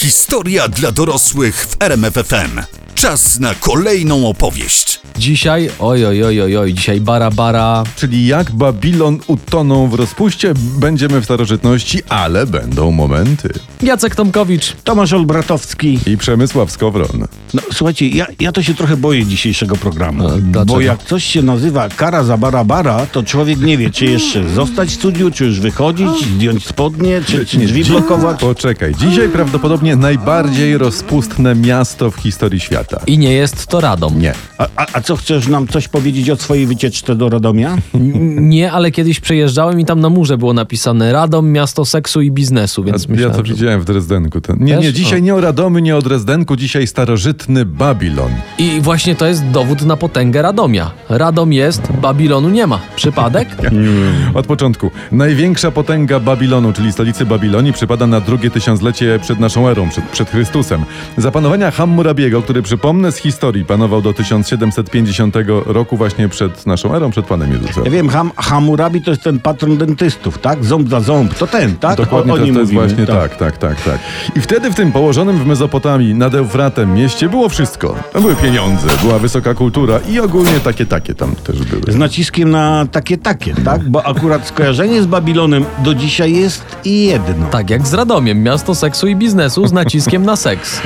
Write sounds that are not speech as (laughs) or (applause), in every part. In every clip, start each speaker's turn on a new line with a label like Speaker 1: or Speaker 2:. Speaker 1: Historia dla dorosłych w RMFFM. Czas na kolejną opowieść.
Speaker 2: Dzisiaj, oj, oj, oj, oj, oj, dzisiaj bara, bara.
Speaker 3: Czyli jak Babilon utonął w rozpuście, będziemy w starożytności, ale będą momenty.
Speaker 2: Jacek Tomkowicz.
Speaker 4: Tomasz Olbratowski.
Speaker 3: I Przemysław Skowron.
Speaker 4: No, słuchajcie, ja, ja to się trochę boję dzisiejszego
Speaker 3: E,
Speaker 4: programu.
Speaker 2: A, dlaczego?
Speaker 4: bo jak coś się nazywa kara za barabara, to człowiek nie wie, czy jeszcze zostać w studiu, czy już wychodzić, zdjąć spodnie, czy, czy drzwi blokować.
Speaker 3: Poczekaj, dzisiaj prawdopodobnie najbardziej rozpustne miasto w historii świata.
Speaker 2: I nie jest to Radom.
Speaker 3: Nie.
Speaker 4: A, a, a co, chcesz nam coś powiedzieć o swojej wycieczce do Radomia?
Speaker 2: N- Nie, ale kiedyś przejeżdżałem i tam na murze było napisane Radom, miasto seksu i biznesu, więc
Speaker 3: A ja
Speaker 2: myślałem,
Speaker 3: to
Speaker 2: że...
Speaker 3: widziałem w Drezdenku. Ten. Nie,
Speaker 2: Też?
Speaker 3: nie,
Speaker 2: O.
Speaker 3: dzisiaj nie o Radomy, nie o Drezdenku, dzisiaj starożytny Babilon.
Speaker 2: I właśnie to jest dowód na potęgę Radomia. Radom jest, Babilonu nie ma.
Speaker 3: (laughs)
Speaker 2: Przypadek?
Speaker 3: Mhm. Od początku. Największa potęga Babilonu, czyli stolicy Babilonii, przypada na drugie tysiąclecie przed naszą erą, przed, przed Chrystusem. Za panowania Hammurabiego, który przypomnę z historii, panował do 1750 roku właśnie przed naszą erą, przed Panem Jezusem.
Speaker 4: Ja wiem, ham, Hammurabi to jest ten patron dentystów, tak? Ząb za ząb. To ten, tak?
Speaker 3: Dokładnie
Speaker 4: o, o
Speaker 3: to,
Speaker 4: nim
Speaker 3: to jest
Speaker 4: mówimy,
Speaker 3: właśnie tak. tak, tak, tak, I wtedy w tym położonym w Mezopotamii nad Eufratem mieście było wszystko. Tam były pieniądze, była wysoka kultura i ogólnie takie, takie tam też były.
Speaker 4: Z naciskiem na takie, takie, tak? Bo akurat skojarzenie z Babilonem do dzisiaj jest jedno.
Speaker 2: Tak, jak z Radomiem, miasto seksu i biznesu z naciskiem na seks.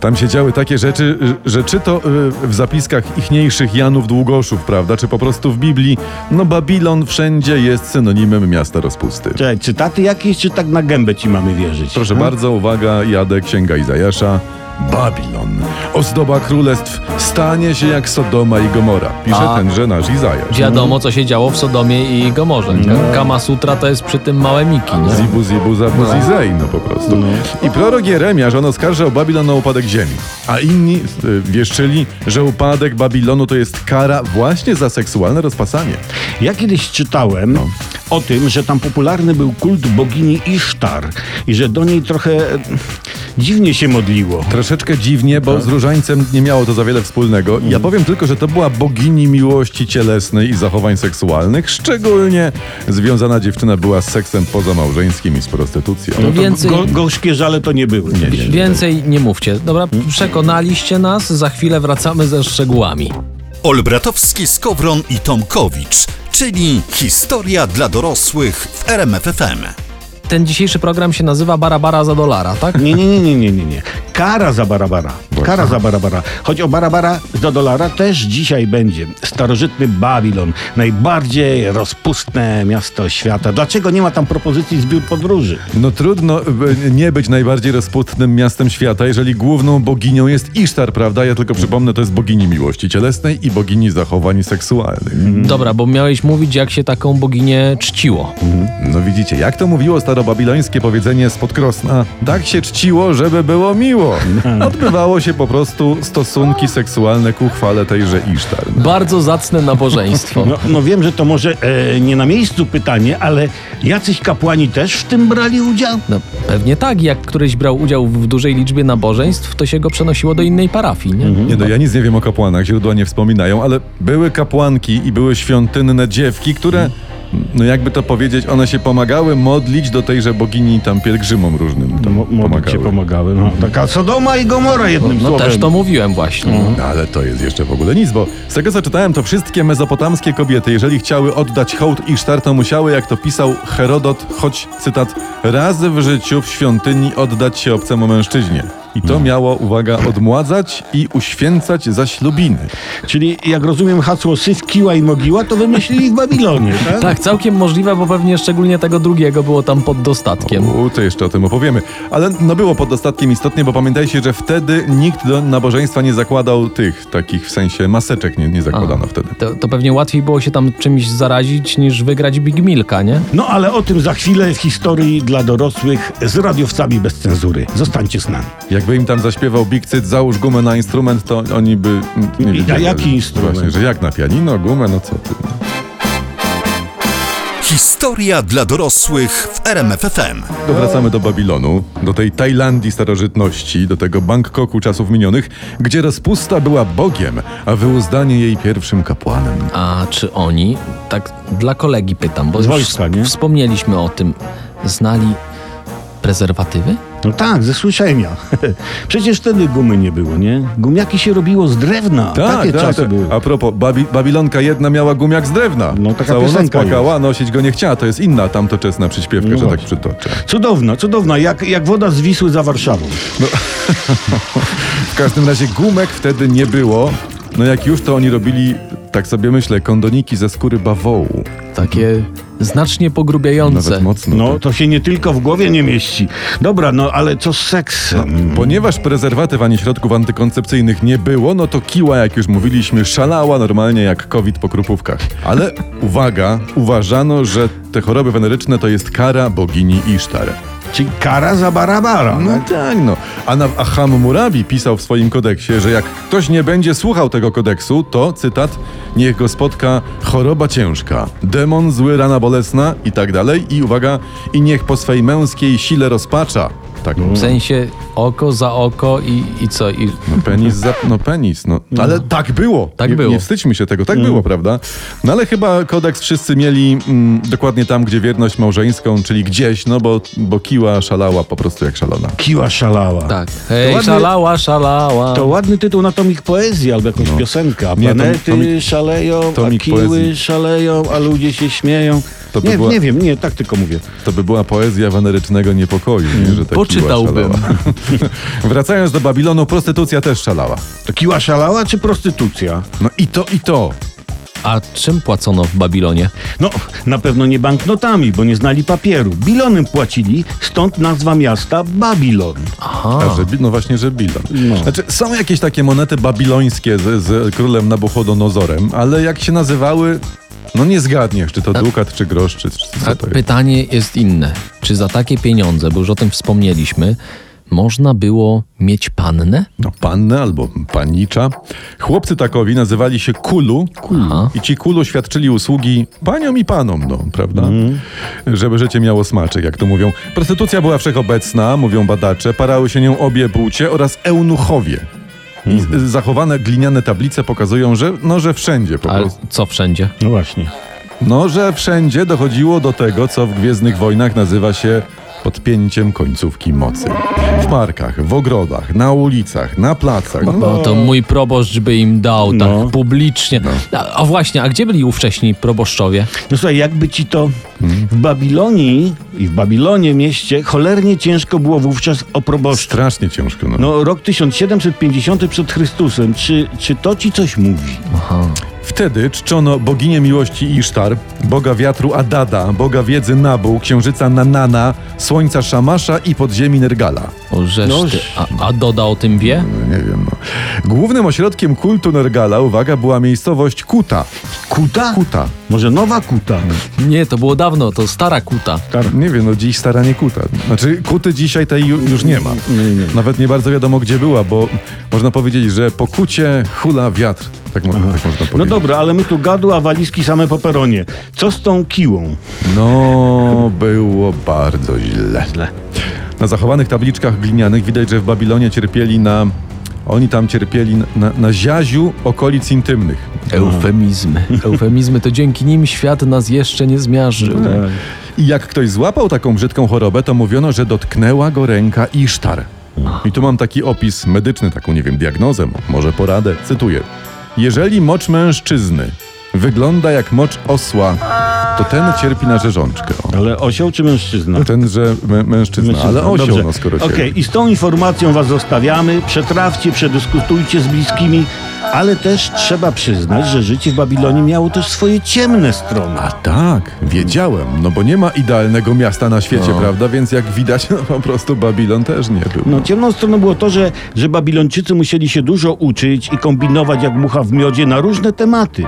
Speaker 3: Tam się działy takie rzeczy, że czy to y, w zapiskach ichniejszych Janów Długoszów, prawda, czy po prostu w Biblii, no Babilon wszędzie jest synonimem miasta rozpusty.
Speaker 4: Czekaj, cytaty jakieś, czy tak na gębę ci mamy wierzyć?
Speaker 3: Proszę
Speaker 4: Hmm?
Speaker 3: bardzo, uwaga, jadę Księga Izajasza. Babilon, ozdoba królestw, stanie się jak Sodoma i Gomora, pisze
Speaker 2: A.
Speaker 3: tenże nasz Izajasz.
Speaker 2: Wiadomo, co się działo w Sodomie i Gomorze.
Speaker 3: No.
Speaker 2: Kama Sutra to jest przy tym małe miki. Nie?
Speaker 3: Zibu, zibu, zabu, zizej, no po prostu. I prorok Jeremiasz, on oskarżał Babilon o upadek ziemi. A inni y, wieszczyli, że upadek Babilonu to jest kara właśnie za seksualne rozpasanie.
Speaker 4: Ja kiedyś czytałem o tym, że tam popularny był kult bogini Isztar i że do niej trochę e, dziwnie się modliło.
Speaker 3: Troszeczkę dziwnie, bo z różańcem nie miało to za wiele wspólnego. Ja powiem tylko, że to była bogini miłości cielesnej i zachowań seksualnych, szczególnie związana dziewczyna była z seksem pozamałżeńskim i z prostytucją.
Speaker 2: No więcej...
Speaker 4: Go, gorzkie żale to nie były. Nie, nie.
Speaker 2: Więcej nie mówcie. Dobra, przekonaliście nas, za chwilę wracamy ze szczegółami.
Speaker 1: Olbratowski, Skowron i Tomkowicz, czyli historia dla dorosłych w RMFFM.
Speaker 2: Ten dzisiejszy program się nazywa Barabara za dolara, tak?
Speaker 4: Nie, nie, nie, nie, nie, nie, nie. Kara za barabara. Kara za barabara. Choć o barabara do dolara też dzisiaj będzie. Starożytny Babilon. Najbardziej rozpustne miasto świata. Dlaczego nie ma tam propozycji zbiór podróży?
Speaker 3: No trudno e, nie być najbardziej rozputnym miastem świata, jeżeli główną boginią jest Isztar, prawda? Ja tylko przypomnę, to jest bogini miłości cielesnej i bogini zachowań seksualnych.
Speaker 2: Dobra, bo miałeś mówić, jak się taką boginię czciło.
Speaker 3: No widzicie, jak to mówiło starobabilońskie powiedzenie spod Krosna? Tak się czciło, żeby było miło. Odbywało się po prostu stosunki seksualne ku chwale tejże Isztar.
Speaker 2: Bardzo zacne nabożeństwo.
Speaker 4: No, no wiem, że to może e, nie na miejscu pytanie, ale jacyś kapłani też w tym brali udział?
Speaker 2: No, pewnie tak, jak któryś brał udział w dużej liczbie nabożeństw, to się go przenosiło do innej parafii, nie?
Speaker 3: Nie no, ja nic nie wiem o kapłanach, źródła nie wspominają, ale były kapłanki i były świątynne dziewki, które, no jakby to powiedzieć, one się pomagały modlić do tejże bogini tam pielgrzymom różnym. Tam
Speaker 4: Pomagały. pomagały. No. Taka Sodoma i Gomora jednym
Speaker 2: No
Speaker 4: słowem.
Speaker 2: też to mówiłem właśnie.
Speaker 3: No, ale to jest jeszcze w ogóle nic, bo z tego co czytałem, to wszystkie mezopotamskie kobiety, jeżeli chciały oddać hołd Isztar, to musiały, jak to pisał Herodot, choć cytat, raz w życiu w świątyni oddać się obcemu mężczyźnie. I to miało, uwaga, odmładzać i uświęcać zaślubiny.
Speaker 4: Czyli jak rozumiem hasło syf, kiła i mogiła, to wymyślili w Babilonie, tak?
Speaker 2: Tak, całkiem możliwe, bo pewnie szczególnie tego drugiego było tam pod dostatkiem.
Speaker 3: U, to jeszcze o tym opowiemy. Ale no było pod dostatkiem istotnie, bo pamiętajcie, że wtedy nikt do nabożeństwa nie zakładał tych, takich w sensie maseczek nie, nie zakładano wtedy.
Speaker 2: To, to pewnie łatwiej było się tam czymś zarazić, niż wygrać Big Milka, nie?
Speaker 4: No ale o tym za chwilę w historii dla dorosłych z radiowcami bez cenzury. Zostańcie z nami.
Speaker 3: Jakby im tam zaśpiewał Big Cyt, załóż gumę na instrument, to oni by mm, nie
Speaker 4: I-
Speaker 3: wiedzieli,
Speaker 4: a jaki
Speaker 3: że-
Speaker 4: instrument?
Speaker 3: Właśnie, że jak na pianino, gumę, no co ty.
Speaker 1: Historia dla dorosłych w RMFFM.
Speaker 3: To wracamy do Babilonu, do tej Tajlandii starożytności, do tego Bangkoku czasów minionych, gdzie rozpusta była Bogiem, a wyuzdanie jej pierwszym kapłanem.
Speaker 2: A czy oni, tak dla kolegi pytam, bo
Speaker 4: Z
Speaker 2: już
Speaker 4: wojska, nie?
Speaker 2: wspomnieliśmy o tym, znali Prezerwatywy?
Speaker 4: No tak, ze słyszenia. (laughs) Przecież wtedy gumy nie było, nie? Gumiaki się robiło z drewna.
Speaker 2: Tak,
Speaker 4: Takie czasy
Speaker 3: to-
Speaker 4: były.
Speaker 3: Tak, A propos, Babi Babilonka jedna miała gumiak z drewna.
Speaker 4: No, taka
Speaker 3: Całą noc
Speaker 4: piosenka
Speaker 3: płakała, nosić go nie chciała. To jest inna tamtoczesna przyśpiewka,
Speaker 4: No
Speaker 3: że tak
Speaker 4: właśnie.
Speaker 3: przytoczę.
Speaker 4: Cudowna, cudowna, jak, jak woda z Wisły za Warszawą.
Speaker 3: W każdym razie gumek wtedy nie było. No jak już to oni robili, tak sobie myślę, kondoniki ze skóry bawołu.
Speaker 2: Takie znacznie
Speaker 3: Nawet
Speaker 2: pogrubiające.
Speaker 3: mocno.
Speaker 4: No, to się nie tylko w głowie nie mieści. Dobra, no ale co z seksem?
Speaker 3: Ponieważ prezerwatyw ani środków antykoncepcyjnych nie było, no to kiła, jak już mówiliśmy, szalała normalnie jak COVID po krupówkach. Ale uwaga, uważano, że te choroby weneryczne to jest kara bogini Isztar.
Speaker 4: Czyli kara za barabara.
Speaker 3: No
Speaker 4: tak?
Speaker 3: tak, no. A, na, a Hammurabi pisał w swoim kodeksie, że jak ktoś nie będzie słuchał tego kodeksu, to, cytat, niech go spotka choroba ciężka, demon zły, rana bolesna i tak dalej. I uwaga, i niech po swej męskiej sile rozpacza. Tak,
Speaker 2: W sensie oko za oko i, i co? I
Speaker 3: No penis, za, no penis, no. Ale tak było.
Speaker 2: Tak
Speaker 3: nie,
Speaker 2: było. Mm.
Speaker 3: Nie wstydźmy się tego, tak było, prawda? No ale chyba kodeks wszyscy mieli mm, dokładnie tam, gdzie wierność małżeńską, czyli gdzieś, no bo, bo kiła szalała po prostu jak szalona.
Speaker 4: Kiła szalała.
Speaker 2: tak. Hej,
Speaker 4: ładny-
Speaker 2: szalała, szalała.
Speaker 4: To ładny tytuł na tomik poezji albo jakąś piosenkę. A
Speaker 3: No. Nie, tom-
Speaker 4: planety
Speaker 3: tomik-
Speaker 4: szaleją,
Speaker 3: tomik
Speaker 4: a kiły
Speaker 3: poezji.
Speaker 4: szaleją, a ludzie się śmieją.
Speaker 3: To by
Speaker 4: nie,
Speaker 3: była-
Speaker 4: nie wiem, nie, tak tylko mówię.
Speaker 3: To by była poezja wenerycznego niepokoju, nie? że ta kiła
Speaker 2: Poczytałbym.
Speaker 3: szalała. (laughs) Wracając do Babilonu, prostytucja też szalała.
Speaker 4: To kiła szalała czy prostytucja?
Speaker 3: No i to, i to.
Speaker 2: A czym płacono w Babilonie?
Speaker 4: No, na pewno nie banknotami, bo nie znali papieru. Bilonem płacili, stąd nazwa miasta Babilon.
Speaker 2: Aha.
Speaker 3: A, że, bi- no właśnie, że Bilon.
Speaker 4: No.
Speaker 3: Znaczy, są jakieś takie monety babilońskie z, z królem Nabuchodonozorem, ale jak się nazywały, no nie zgadniesz, czy to dukat, czy grosz, czy, czy co
Speaker 2: A
Speaker 3: to jest.
Speaker 2: pytanie jest inne. Czy za takie pieniądze, bo już o tym wspomnieliśmy, można było mieć pannę?
Speaker 3: No, pannę albo panicza. Chłopcy takowi nazywali się kulu,
Speaker 2: Aha.
Speaker 3: i ci kulu świadczyli usługi paniom i panom, no, prawda?
Speaker 2: Mhm.
Speaker 3: Żeby życie miało smaczek, jak to mówią. Prostytucja była wszechobecna, mówią badacze, parały się nią obie płcie oraz eunuchowie. I
Speaker 2: Mhm.
Speaker 3: z- zachowane gliniane tablice pokazują, że, no, że wszędzie po
Speaker 2: Ale
Speaker 3: prostu.
Speaker 2: co wszędzie?
Speaker 4: No właśnie.
Speaker 3: No, że wszędzie dochodziło do tego, co w Gwiezdnych Wojnach nazywa się podpięciem końcówki mocy. W parkach, w ogrodach, na ulicach, na placach. No,
Speaker 2: Bo to mój proboszcz by im dał tak
Speaker 4: No.
Speaker 2: publicznie. A, a właśnie, a gdzie byli ówcześni proboszczowie?
Speaker 4: No słuchaj, jakby ci to w Babilonii i w Babilonie mieście cholernie ciężko było wówczas o proboszcza.
Speaker 3: Strasznie ciężko. No.
Speaker 4: No rok 1750 przed Chrystusem, czy, czy to ci coś mówi?
Speaker 2: Aha.
Speaker 3: Wtedy czczono boginię miłości Isztar, boga wiatru Adada, boga wiedzy Nabu, księżyca Nanana, słońca Szamasza i podziemi Nergala.
Speaker 2: O, żeż
Speaker 4: No,
Speaker 2: ty. A, a Doda o tym wie?
Speaker 3: No, nie wiem, no. Głównym ośrodkiem kultu Nergala, uwaga, była miejscowość Kuta.
Speaker 4: Kuta?
Speaker 3: Kuta.
Speaker 4: Może nowa kuta?
Speaker 2: Nie, to było dawno, to stara kuta.
Speaker 4: Tak.
Speaker 3: Nie wiem, no dziś stara nie kuta. Znaczy, kuty dzisiaj tej ju- już nie ma.
Speaker 4: Nie, nie.
Speaker 3: Nawet nie bardzo wiadomo, gdzie była, bo można powiedzieć, że po kucie hula wiatr. Tak, mo- tak można
Speaker 4: No
Speaker 3: powiedzieć.
Speaker 4: dobra, ale my tu gadła, walizki same po peronie. Co z tą kiłą?
Speaker 3: No, było bardzo źle. Na zachowanych tabliczkach glinianych widać, że w Babilonie cierpieli na. Oni tam cierpieli na, na ziaziu okolic intymnych.
Speaker 2: No. Eufemizmy. (laughs) Eufemizmy to dzięki nim świat nas jeszcze nie zmiażdżył.
Speaker 3: I jak ktoś złapał taką brzydką chorobę, to mówiono, że dotknęła go ręka Isztar. I tu mam taki opis medyczny, taką, nie wiem, diagnozę, może poradę. Cytuję. Jeżeli mocz mężczyzny wygląda jak mocz osła, to ten cierpi na rzeżączkę. O.
Speaker 4: Ale osioł czy mężczyzna?
Speaker 3: Tenże mę- mężczyzna, No, ale osioł, no skoro
Speaker 4: Okej,
Speaker 3: cierpi.
Speaker 4: i z tą informacją was zostawiamy. Przetrawcie, przedyskutujcie z bliskimi, ale też trzeba przyznać, że życie w Babilonie miało też swoje ciemne strony.
Speaker 3: A tak, wiedziałem, no bo nie ma idealnego miasta na świecie,
Speaker 2: No.
Speaker 3: prawda? Więc jak widać, no po prostu Babilon też nie był.
Speaker 4: No, ciemną stroną było to, że, że Babilończycy musieli się dużo uczyć i kombinować jak mucha w miodzie na różne tematy.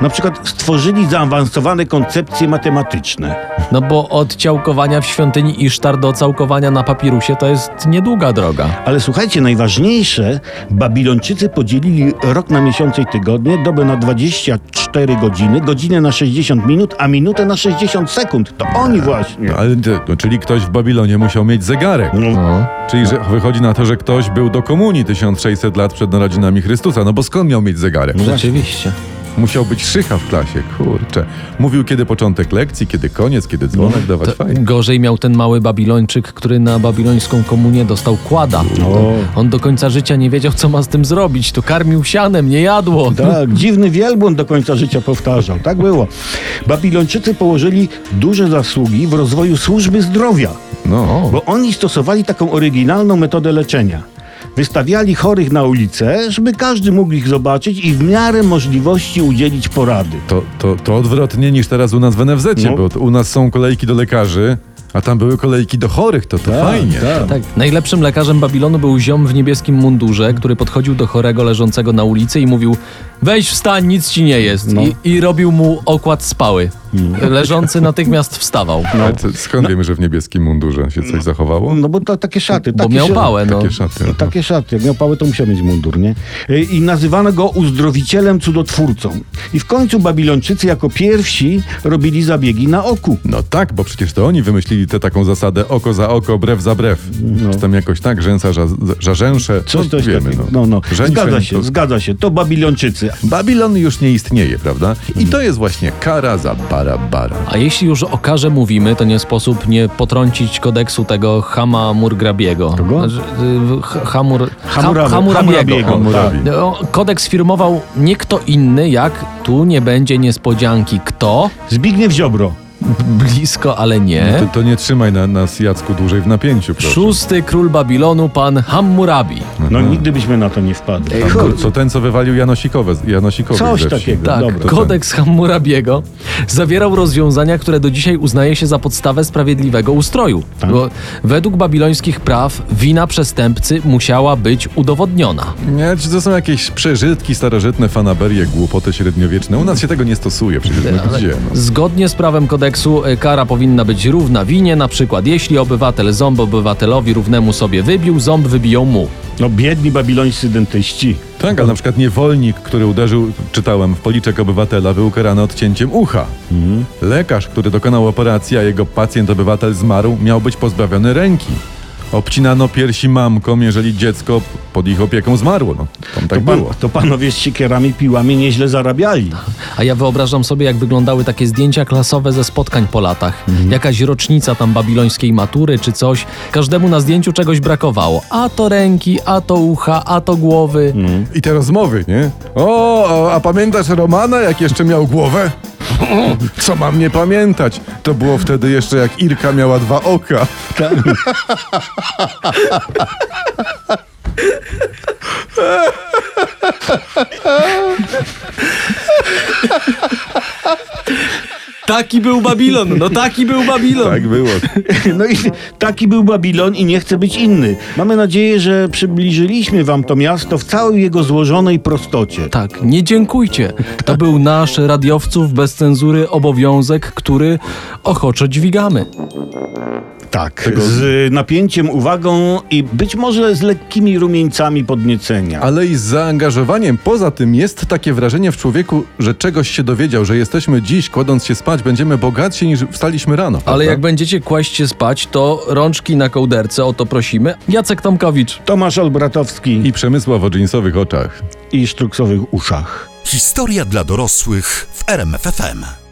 Speaker 4: Na przykład stworzyli zaawansowane koncepcje matematyczne.
Speaker 2: No bo od ciałkowania w świątyni Isztar do całkowania na papirusie to jest niedługa droga.
Speaker 4: Ale słuchajcie, najważniejsze, Babilończycy podzielili rok na miesiące i tygodnie, dobę na 24 godziny, godzinę na 60 minut, a minutę na 60 sekund. To oni właśnie.
Speaker 3: No, ale, ty- no, czyli ktoś w Babilonie musiał mieć zegarek.
Speaker 4: No,
Speaker 2: No.
Speaker 3: Czyli że wychodzi na to, że ktoś był do komunii 1600 lat przed narodzinami Chrystusa. No bo skąd miał mieć zegarek?
Speaker 2: Rzeczywiście.
Speaker 3: Musiał być szycha w klasie, kurczę. Mówił kiedy początek lekcji, kiedy koniec, kiedy dzwonek, dawać
Speaker 2: No, To
Speaker 3: fajnie.
Speaker 2: gorzej miał ten mały Babilończyk, który na babilońską komunię dostał kłada. On do końca życia nie wiedział, co ma z tym zrobić. To karmił sianem, nie jadło.
Speaker 4: Tak, dziwny wielbłąd do końca życia powtarzał. Tak było. Babilończycy położyli duże zasługi w rozwoju służby zdrowia,
Speaker 3: No,
Speaker 4: bo oni stosowali taką oryginalną metodę leczenia. Wystawiali chorych na ulicę, żeby każdy mógł ich zobaczyć i w miarę możliwości udzielić porady.
Speaker 3: to, to, to odwrotnie niż teraz u nas w NFZ,
Speaker 4: No.
Speaker 3: bo u nas są kolejki do lekarzy, a tam były kolejki do chorych, to to fajnie.
Speaker 2: Tak. Najlepszym lekarzem Babilonu był ziom w niebieskim mundurze, który podchodził do chorego leżącego na ulicy i mówił: Weź wstań, nic ci nie jest.
Speaker 4: No.
Speaker 2: I, I robił mu okład spały.
Speaker 4: Mm.
Speaker 2: Leżący natychmiast wstawał.
Speaker 3: Ale co- skąd wiemy, że w niebieskim mundurze się coś zachowało?
Speaker 4: No bo to takie szaty.
Speaker 2: Bo
Speaker 4: takie
Speaker 2: miał
Speaker 4: szaty.
Speaker 2: pałę, no.
Speaker 3: Takie szaty.
Speaker 4: No, Takie szaty, jak miał pałę, to musiał mieć mundur, nie? Y, I nazywano go uzdrowicielem cudotwórcą. I w końcu Babilończycy jako pierwsi robili zabiegi na oku.
Speaker 3: No tak, bo przecież to oni wymyślili tę taką zasadę oko za oko, brew za brew. Czy tam jakoś tak, rzęsa za, za rzęsze,
Speaker 4: No. Coś,
Speaker 3: to
Speaker 4: coś
Speaker 3: wiemy.
Speaker 4: takiego.
Speaker 3: No.
Speaker 4: No, no.
Speaker 3: Żeń,
Speaker 4: Zgadza
Speaker 3: szeń,
Speaker 4: się,
Speaker 3: to-
Speaker 4: zgadza się. To Babilończycy.
Speaker 3: Babilon już nie istnieje, prawda? I
Speaker 4: Mhm.
Speaker 3: to jest właśnie kara za barabara.
Speaker 2: A jeśli już o karze mówimy, to nie sposób nie potrącić kodeksu tego Hama Murgrabiego.
Speaker 4: Kogo?
Speaker 2: Znaczy, y, H- Hamur...
Speaker 4: Hamurabi,
Speaker 2: Ha- Hamurabiego.
Speaker 4: Hamurabiego. Tak.
Speaker 3: Hammurabi.
Speaker 2: No, Kodeks firmował nie kto inny, jak tu nie będzie niespodzianki kto,
Speaker 4: Tak. Zbigniew Ziobro.
Speaker 2: blisko, ale
Speaker 4: E?
Speaker 2: nie.
Speaker 3: No To, to nie trzymaj na, nas, Jacku, dłużej w napięciu, proszę.
Speaker 2: Szósty król Babilonu, pan Hammurabi.
Speaker 4: No
Speaker 3: Mhm.
Speaker 4: nigdy byśmy na to nie wpadli.
Speaker 3: To- To ten, co wywalił Janosikowe, z- Janosikowych
Speaker 4: Coś
Speaker 3: ze wsi.
Speaker 4: takiego.
Speaker 2: Tak,
Speaker 4: Dobra.
Speaker 2: kodeks Hammurabiego zawierał rozwiązania, które do dzisiaj uznaje się za podstawę sprawiedliwego ustroju. Bo według babilońskich praw wina przestępcy musiała być udowodniona.
Speaker 3: Nie, czy to są jakieś przeżytki starożytne, fanaberie, głupoty średniowieczne? U nas się tego nie stosuje, przecież no gdzie? No.
Speaker 2: Zgodnie z prawem kodeksu y, kara powinna być równa winie, na przykład jeśli obywatel ząb obywatelowi równemu sobie wybił, ząb wybiją mu.
Speaker 4: No biedni babilońscy dentyści.
Speaker 3: Tak, ale na przykład niewolnik, który uderzył, czytałem, w policzek obywatela, był karany odcięciem ucha. Lekarz, który dokonał operacji, a jego pacjent obywatel zmarł, miał być pozbawiony ręki. Obcinano piersi mamkom, jeżeli dziecko pod ich opieką zmarło. No, tam tak
Speaker 4: to, pan,
Speaker 3: było.
Speaker 4: to panowie z siekierami, piłami nieźle zarabiali.
Speaker 2: A ja wyobrażam sobie, jak wyglądały takie zdjęcia klasowe ze spotkań po latach. Jakaś rocznica tam babilońskiej matury czy coś. Każdemu na zdjęciu czegoś brakowało. A to ręki, a to ucha, a to głowy.
Speaker 3: I te rozmowy, nie? O, a pamiętasz Romana, jak jeszcze miał głowę? (laughs) Co mam nie pamiętać? To było wtedy jeszcze jak Irka miała dwa oka.
Speaker 2: Taki był Babilon, no taki był Babilon.
Speaker 3: było.
Speaker 4: (laughs) No i taki był Babilon i nie chce być inny. Mamy nadzieję, że przybliżyliśmy wam to miasto w całej jego złożonej prostocie.
Speaker 2: Tak, nie dziękujcie. To był nasz radiowców bez cenzury obowiązek, który ochoczo dźwigamy.
Speaker 4: Tak. Z napięciem, uwagą i być może z lekkimi rumieńcami podniecenia.
Speaker 3: Ale i z zaangażowaniem poza tym jest takie wrażenie w człowieku, że czegoś się dowiedział, że jesteśmy dziś, kładąc się spać, będziemy bogatsi niż wstaliśmy rano.
Speaker 2: Ale
Speaker 3: prawda?
Speaker 2: jak będziecie kłaść się spać, to rączki na kołderce, o to prosimy. Jacek Tomkowicz.
Speaker 4: Tomasz Olbratowski
Speaker 3: I Przemysław o dżinsowych oczach.
Speaker 4: i, i sztruksowych uszach.
Speaker 1: Historia dla dorosłych w RMFFM.